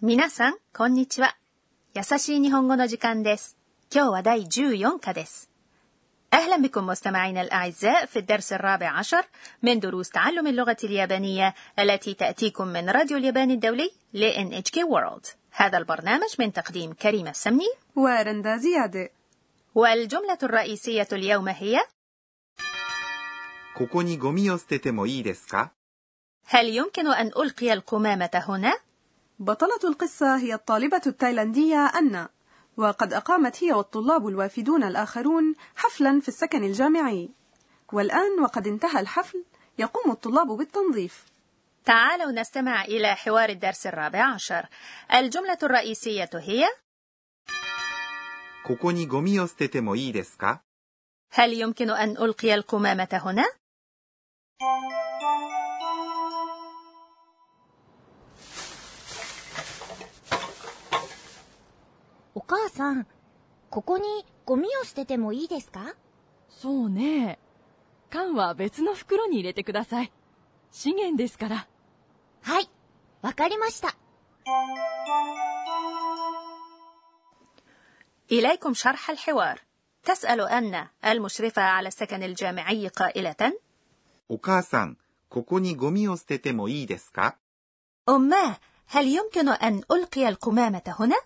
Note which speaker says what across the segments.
Speaker 1: 皆さん、こんにちは。優しい日本語の時間です。今日は第14課です。أهلا بكم مستمعينا الأعزاء في الدرس الرابع عشر من دروس تعلم اللغة اليابانية التي تأتيكم من راديو اليابان الدولي ل NHK World هذا البرنامج من تقديم كريمة السمني
Speaker 2: ورندا زيادة
Speaker 1: والجملة الرئيسية اليوم هي
Speaker 3: ここにゴミを捨ててもいいですか
Speaker 1: هل يمكن أن ألقي القمامة هنا؟
Speaker 2: بطلة القصة هي الطالبة التايلاندية أنا وقد أقامت هي والطلاب الوافدون الآخرون حفلا في السكن الجامعي والآن وقد انتهى الحفل يقوم الطلاب بالتنظيف
Speaker 1: تعالوا نستمع إلى حوار الدرس الرابع عشر الجملة الرئيسية هي
Speaker 3: ここにゴミを捨ててもいいですか
Speaker 1: هل يمكن أن ألقي القمامة هنا؟
Speaker 4: 「お母さんここにゴミを捨ててもいいですか
Speaker 5: そうね缶は別の袋に入れてください資源ですから
Speaker 4: はいわかりました
Speaker 1: إليكم شرح الحوار تسأل أن المشرفة على السكن الجامعي قائلة
Speaker 3: お母さん、ここにゴミを捨ててもいいですか
Speaker 1: أماه هل يمكن أن ألقي القمامة هنا؟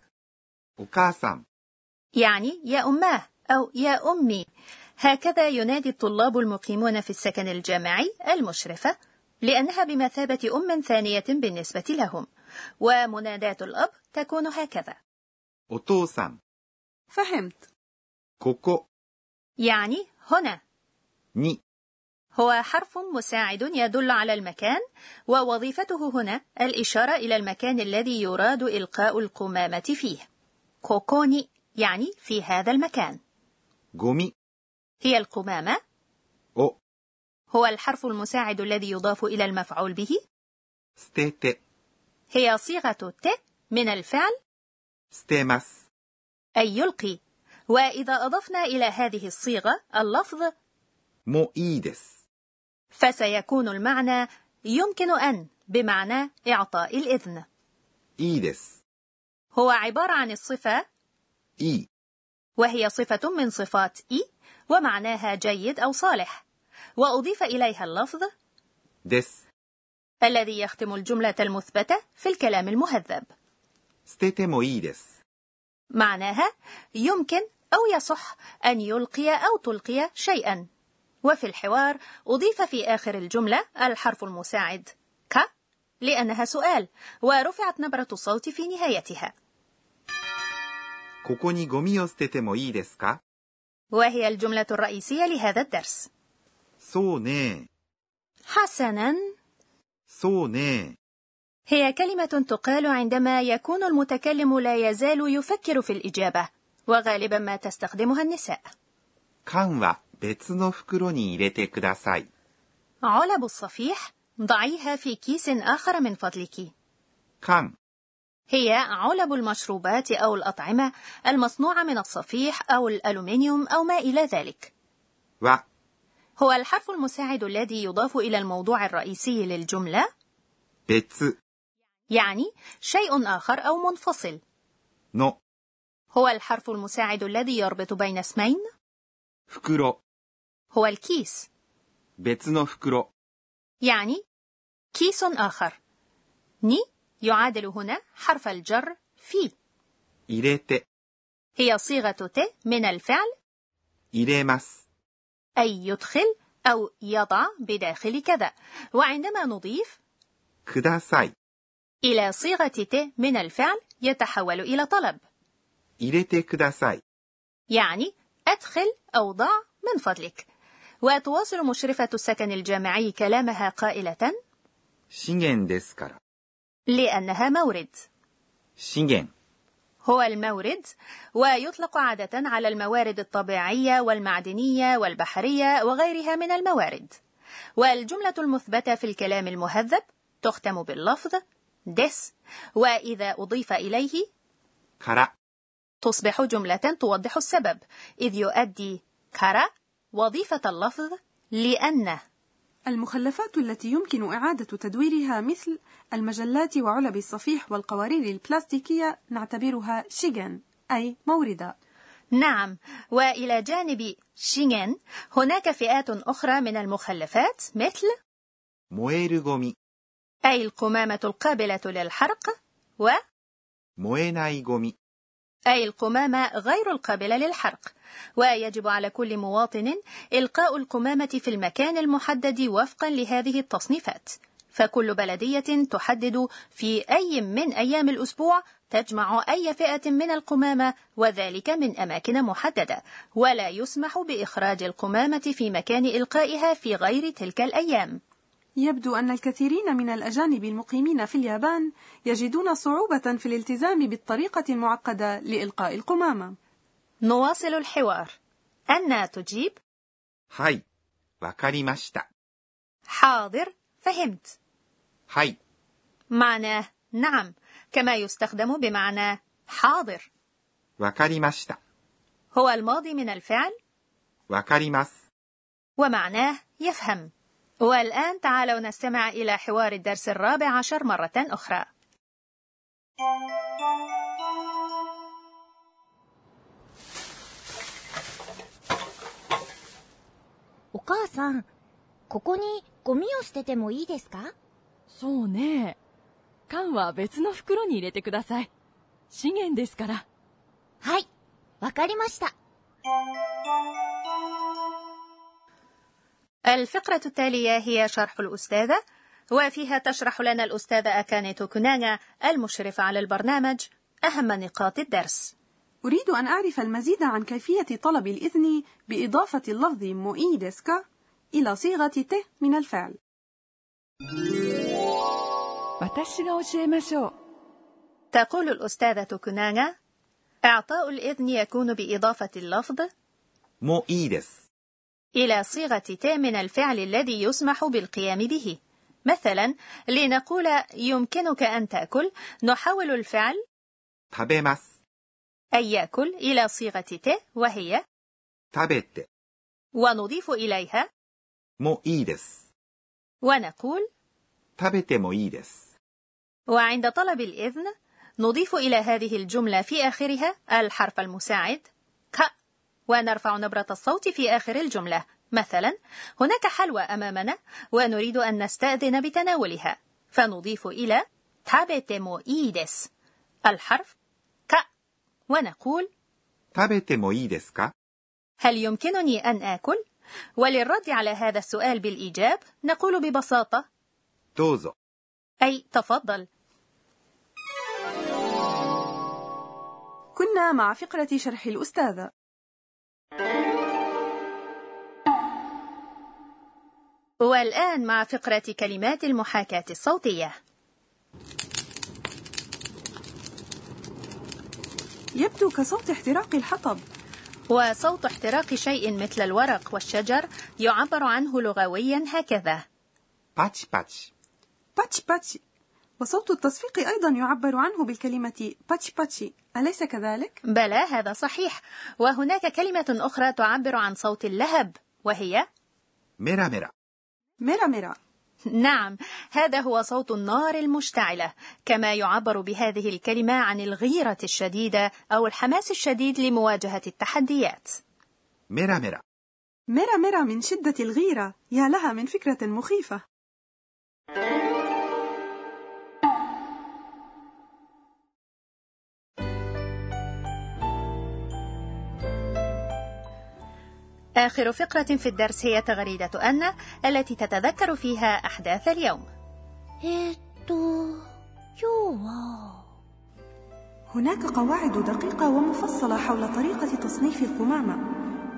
Speaker 3: お母さん、
Speaker 1: يعني يا أماه أو يا أمي هكذا ينادي الطلاب المقيمون في السكن الجامعي المشرفة لأنها بمثابة أم ثانية بالنسبة لهم ومنادات الأب تكون هكذا
Speaker 3: お父さん、
Speaker 2: فهمت
Speaker 3: ここ
Speaker 1: يعني هنا
Speaker 3: に
Speaker 1: هو حرف مساعد يدل على المكان ووظيفته هنا الإشارة إلى المكان الذي يراد إلقاء القمامة فيه كوكوني يعني في هذا المكان
Speaker 3: ゴミ
Speaker 1: هي القمامة
Speaker 3: を
Speaker 1: هو الحرف المساعد الذي يضاف إلى المفعول به
Speaker 3: 捨てて、
Speaker 1: هي صيغة ت من الفعل
Speaker 3: 捨てます。
Speaker 1: أي يلقي وإذا أضفنا إلى هذه الصيغة اللفظ
Speaker 3: もいいです。
Speaker 1: فسيكون المعنى يمكن أن بمعنى إعطاء الإذن
Speaker 3: いいです。
Speaker 1: هو عبارة عن الصفة
Speaker 3: いい。
Speaker 1: وهي صفة من صفات إي ومعناها جيد أو صالح وأضيف إليها اللفظ
Speaker 3: です。
Speaker 1: الذي يختم الجملة المثبتة في الكلام المهذب
Speaker 3: 捨ててもいいです。
Speaker 1: معناها يمكن أو يصح أن يلقي أو تلقي شيئا وفي الحوار أضيف في آخر الجملة الحرف المساعد ك لأنها سؤال ورفعت نبرة الصوت في نهايتها
Speaker 3: ここにゴミを捨ててもいいですか
Speaker 1: وهي الجملة الرئيسية لهذا الدرس
Speaker 3: そうね
Speaker 1: حسنا
Speaker 3: そうね
Speaker 1: هي كلمة تقال عندما يكون المتكلم لا يزال يفكر في الإجابة وغالبا ما تستخدمها النساء
Speaker 3: 缶は別の袋に入れてください。
Speaker 1: علب الصفيح ضعيها في كيس آخر من فضلك
Speaker 3: 缶、
Speaker 1: هي علب المشروبات أو الأطعمة المصنوعة من الصفيح أو الألومنيوم أو ما إلى ذلك.
Speaker 3: は、
Speaker 1: هو الحرف المساعد الذي يضاف إلى الموضوع الرئيسي للجملة،
Speaker 3: 別
Speaker 1: يعني شيء آخر أو منفصل.
Speaker 3: の
Speaker 1: هو الحرف المساعد الذي يربط بين اسمين،
Speaker 3: 袋、
Speaker 1: هو الكيس،
Speaker 3: 別の袋、
Speaker 1: يعني كيس آخر. ني يعادل هنا حرف الجر في،
Speaker 3: 入れて、
Speaker 1: هي صيغة ت من الفعل
Speaker 3: 入れます。
Speaker 1: أي يدخل أو يضع بداخل كذا وعندما نضيف
Speaker 3: ください。
Speaker 1: إلى صيغة ت من الفعل يتحول إلى طلب
Speaker 3: 入れてください。
Speaker 1: يعني أدخل أو ضع من فضلك وتواصل مشرفة السكن الجامعي كلامها قائلة
Speaker 3: 資源ですから。
Speaker 1: لأنها مورد
Speaker 3: 資源、
Speaker 1: هو المورد ويطلق عادة على الموارد الطبيعية والمعدنية والبحرية وغيرها من الموارد والجملة المثبتة في الكلام المهذب تختم باللفظ دس وإذا أضيف إليه
Speaker 3: から、
Speaker 1: تصبح جملة توضح السبب إذ يؤدي كرا وظيفة اللفظ لأن
Speaker 2: المخلفات التي يمكن إعادة تدويرها مثل المجلات وعلب الصفيح والقوارير البلاستيكية نعتبرها شيغان أي موردة
Speaker 1: نعم وإلى جانب شينغن هناك فئات أخرى من المخلفات مثل
Speaker 3: 燃えるゴミ、
Speaker 1: أي القمامة القابلة للحرق و
Speaker 3: 燃えないゴミ、
Speaker 1: أي القمامة غير القابلة للحرق ويجب على كل مواطن إلقاء القمامة في المكان المحدد وفقا لهذه التصنيفات فكل بلدية تحدد في أي من أيام الأسبوع تجمع أي فئة من القمامة وذلك من أماكن محددة ولا يسمح بإخراج القمامة في مكان إلقائها في غير تلك الأيام
Speaker 2: يبدو أن الكثيرين من الأجانب المقيمين في اليابان يجدون صعوبة في الالتزام بالطريقة المعقدة لإلقاء القمامة
Speaker 1: نواصل الحوار أن تجيب
Speaker 3: はい、わかりました。
Speaker 1: حاضر فهمت
Speaker 3: はい、
Speaker 1: معناه نعم كما يستخدم بمعنى حاضر
Speaker 3: わかりました。
Speaker 1: هو الماضي من الفعل
Speaker 3: わかります。
Speaker 1: ومعناه يفهم والآن تعالوا نستمع إلى حوار الدرس الرابع عشر مرة أخرى
Speaker 4: お母さん、ここにゴミを捨ててもいいですか
Speaker 5: そうね。缶は別の袋に入れてください。資源ですから。
Speaker 4: はい、わかりました。
Speaker 1: الفقرة التالية هي شرح الأستاذة وفيها تشرح لنا الأستاذة أكاني توكوناغا المشرفة على البرنامج أهم نقاط الدرس
Speaker 2: أريد أن أعرف المزيد عن كيفية طلب الإذن بإضافة اللفظ موئي ديسكا إلى صيغة ت من الفعل
Speaker 5: 私が教えましょう。
Speaker 1: تقول الأستاذة توكوناغا إعطاء الإذن يكون بإضافة اللفظ
Speaker 3: もういいです。
Speaker 1: إلى صيغة ت من الفعل الذي يسمح بالقيام به مثلا لنقول يمكنك أن تأكل نحول الفعل
Speaker 3: 食べます。
Speaker 1: أي يأكل إلى صيغة ت وهي
Speaker 3: 食べて。
Speaker 1: ونضيف إليها
Speaker 3: もういいです。
Speaker 1: ونقول
Speaker 3: 食べてもいいです。
Speaker 1: وعند طلب الإذن نضيف إلى هذه الجملة في آخرها الحرف المساعد ك ونرفع نبرة الصوت في آخر الجملة مثلا هناك حلوى أمامنا ونريد أن نستأذن بتناولها فنضيف إلى تابتمو إيدس الحرف ك ونقول
Speaker 3: 食べてもいいですか
Speaker 1: هل يمكنني أن آكل؟ وللرد على هذا السؤال بالإيجاب نقول ببساطة
Speaker 3: どうぞ。
Speaker 1: أي تفضل
Speaker 2: كنا مع فقرة شرح الأستاذة
Speaker 1: والآن مع فقرة كلمات المحاكاة الصوتية
Speaker 2: يبدو كصوت احتراق الحطب
Speaker 1: وصوت احتراق شيء مثل الورق والشجر يعبر عنه لغويا هكذا
Speaker 3: パチパチ。
Speaker 2: باتش باتش وصوت التصفيق أيضا يعبر عنه بالكلمة باتش باتش أليس كذلك؟
Speaker 1: بلى هذا صحيح وهناك كلمة أخرى تعبر عن صوت اللهب وهي
Speaker 3: メラメラ。
Speaker 2: ميرا ميرا
Speaker 1: نعم هذا هو صوت النار المشتعلة كما يعبر بهذه الكلمة عن الغيرة الشديدة أو الحماس الشديد لمواجهة التحديات
Speaker 3: メラメラ。
Speaker 2: ميرا ميرا من شدة الغيرة يا لها من فكرة مخيفة
Speaker 1: آخر فقرة في الدرس هي تغريدة أن التي تتذكر فيها أحداث اليوم
Speaker 4: えーっと、今日は、
Speaker 2: هناك قواعد دقيقة ومفصلة حول طريقة تصنيف القمامة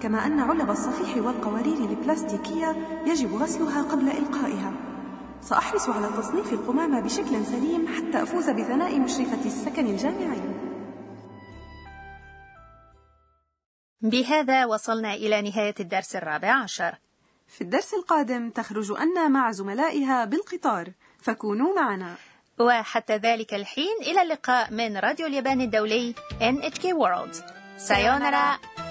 Speaker 2: كما أن علب الصفيح والقوارير البلاستيكية يجب غسلها قبل إلقائها سأحرص على تصنيف القمامة بشكل سليم حتى أفوز بثناء مشرفة السكن الجامعي
Speaker 1: بهذا وصلنا إلى نهاية الدرس الرابع عشر
Speaker 2: في الدرس القادم تخرج أنا مع زملائها بالقطار فكونوا معنا
Speaker 1: وحتى ذلك الحين إلى اللقاء من راديو اليابان الدولي NHK World سايونارا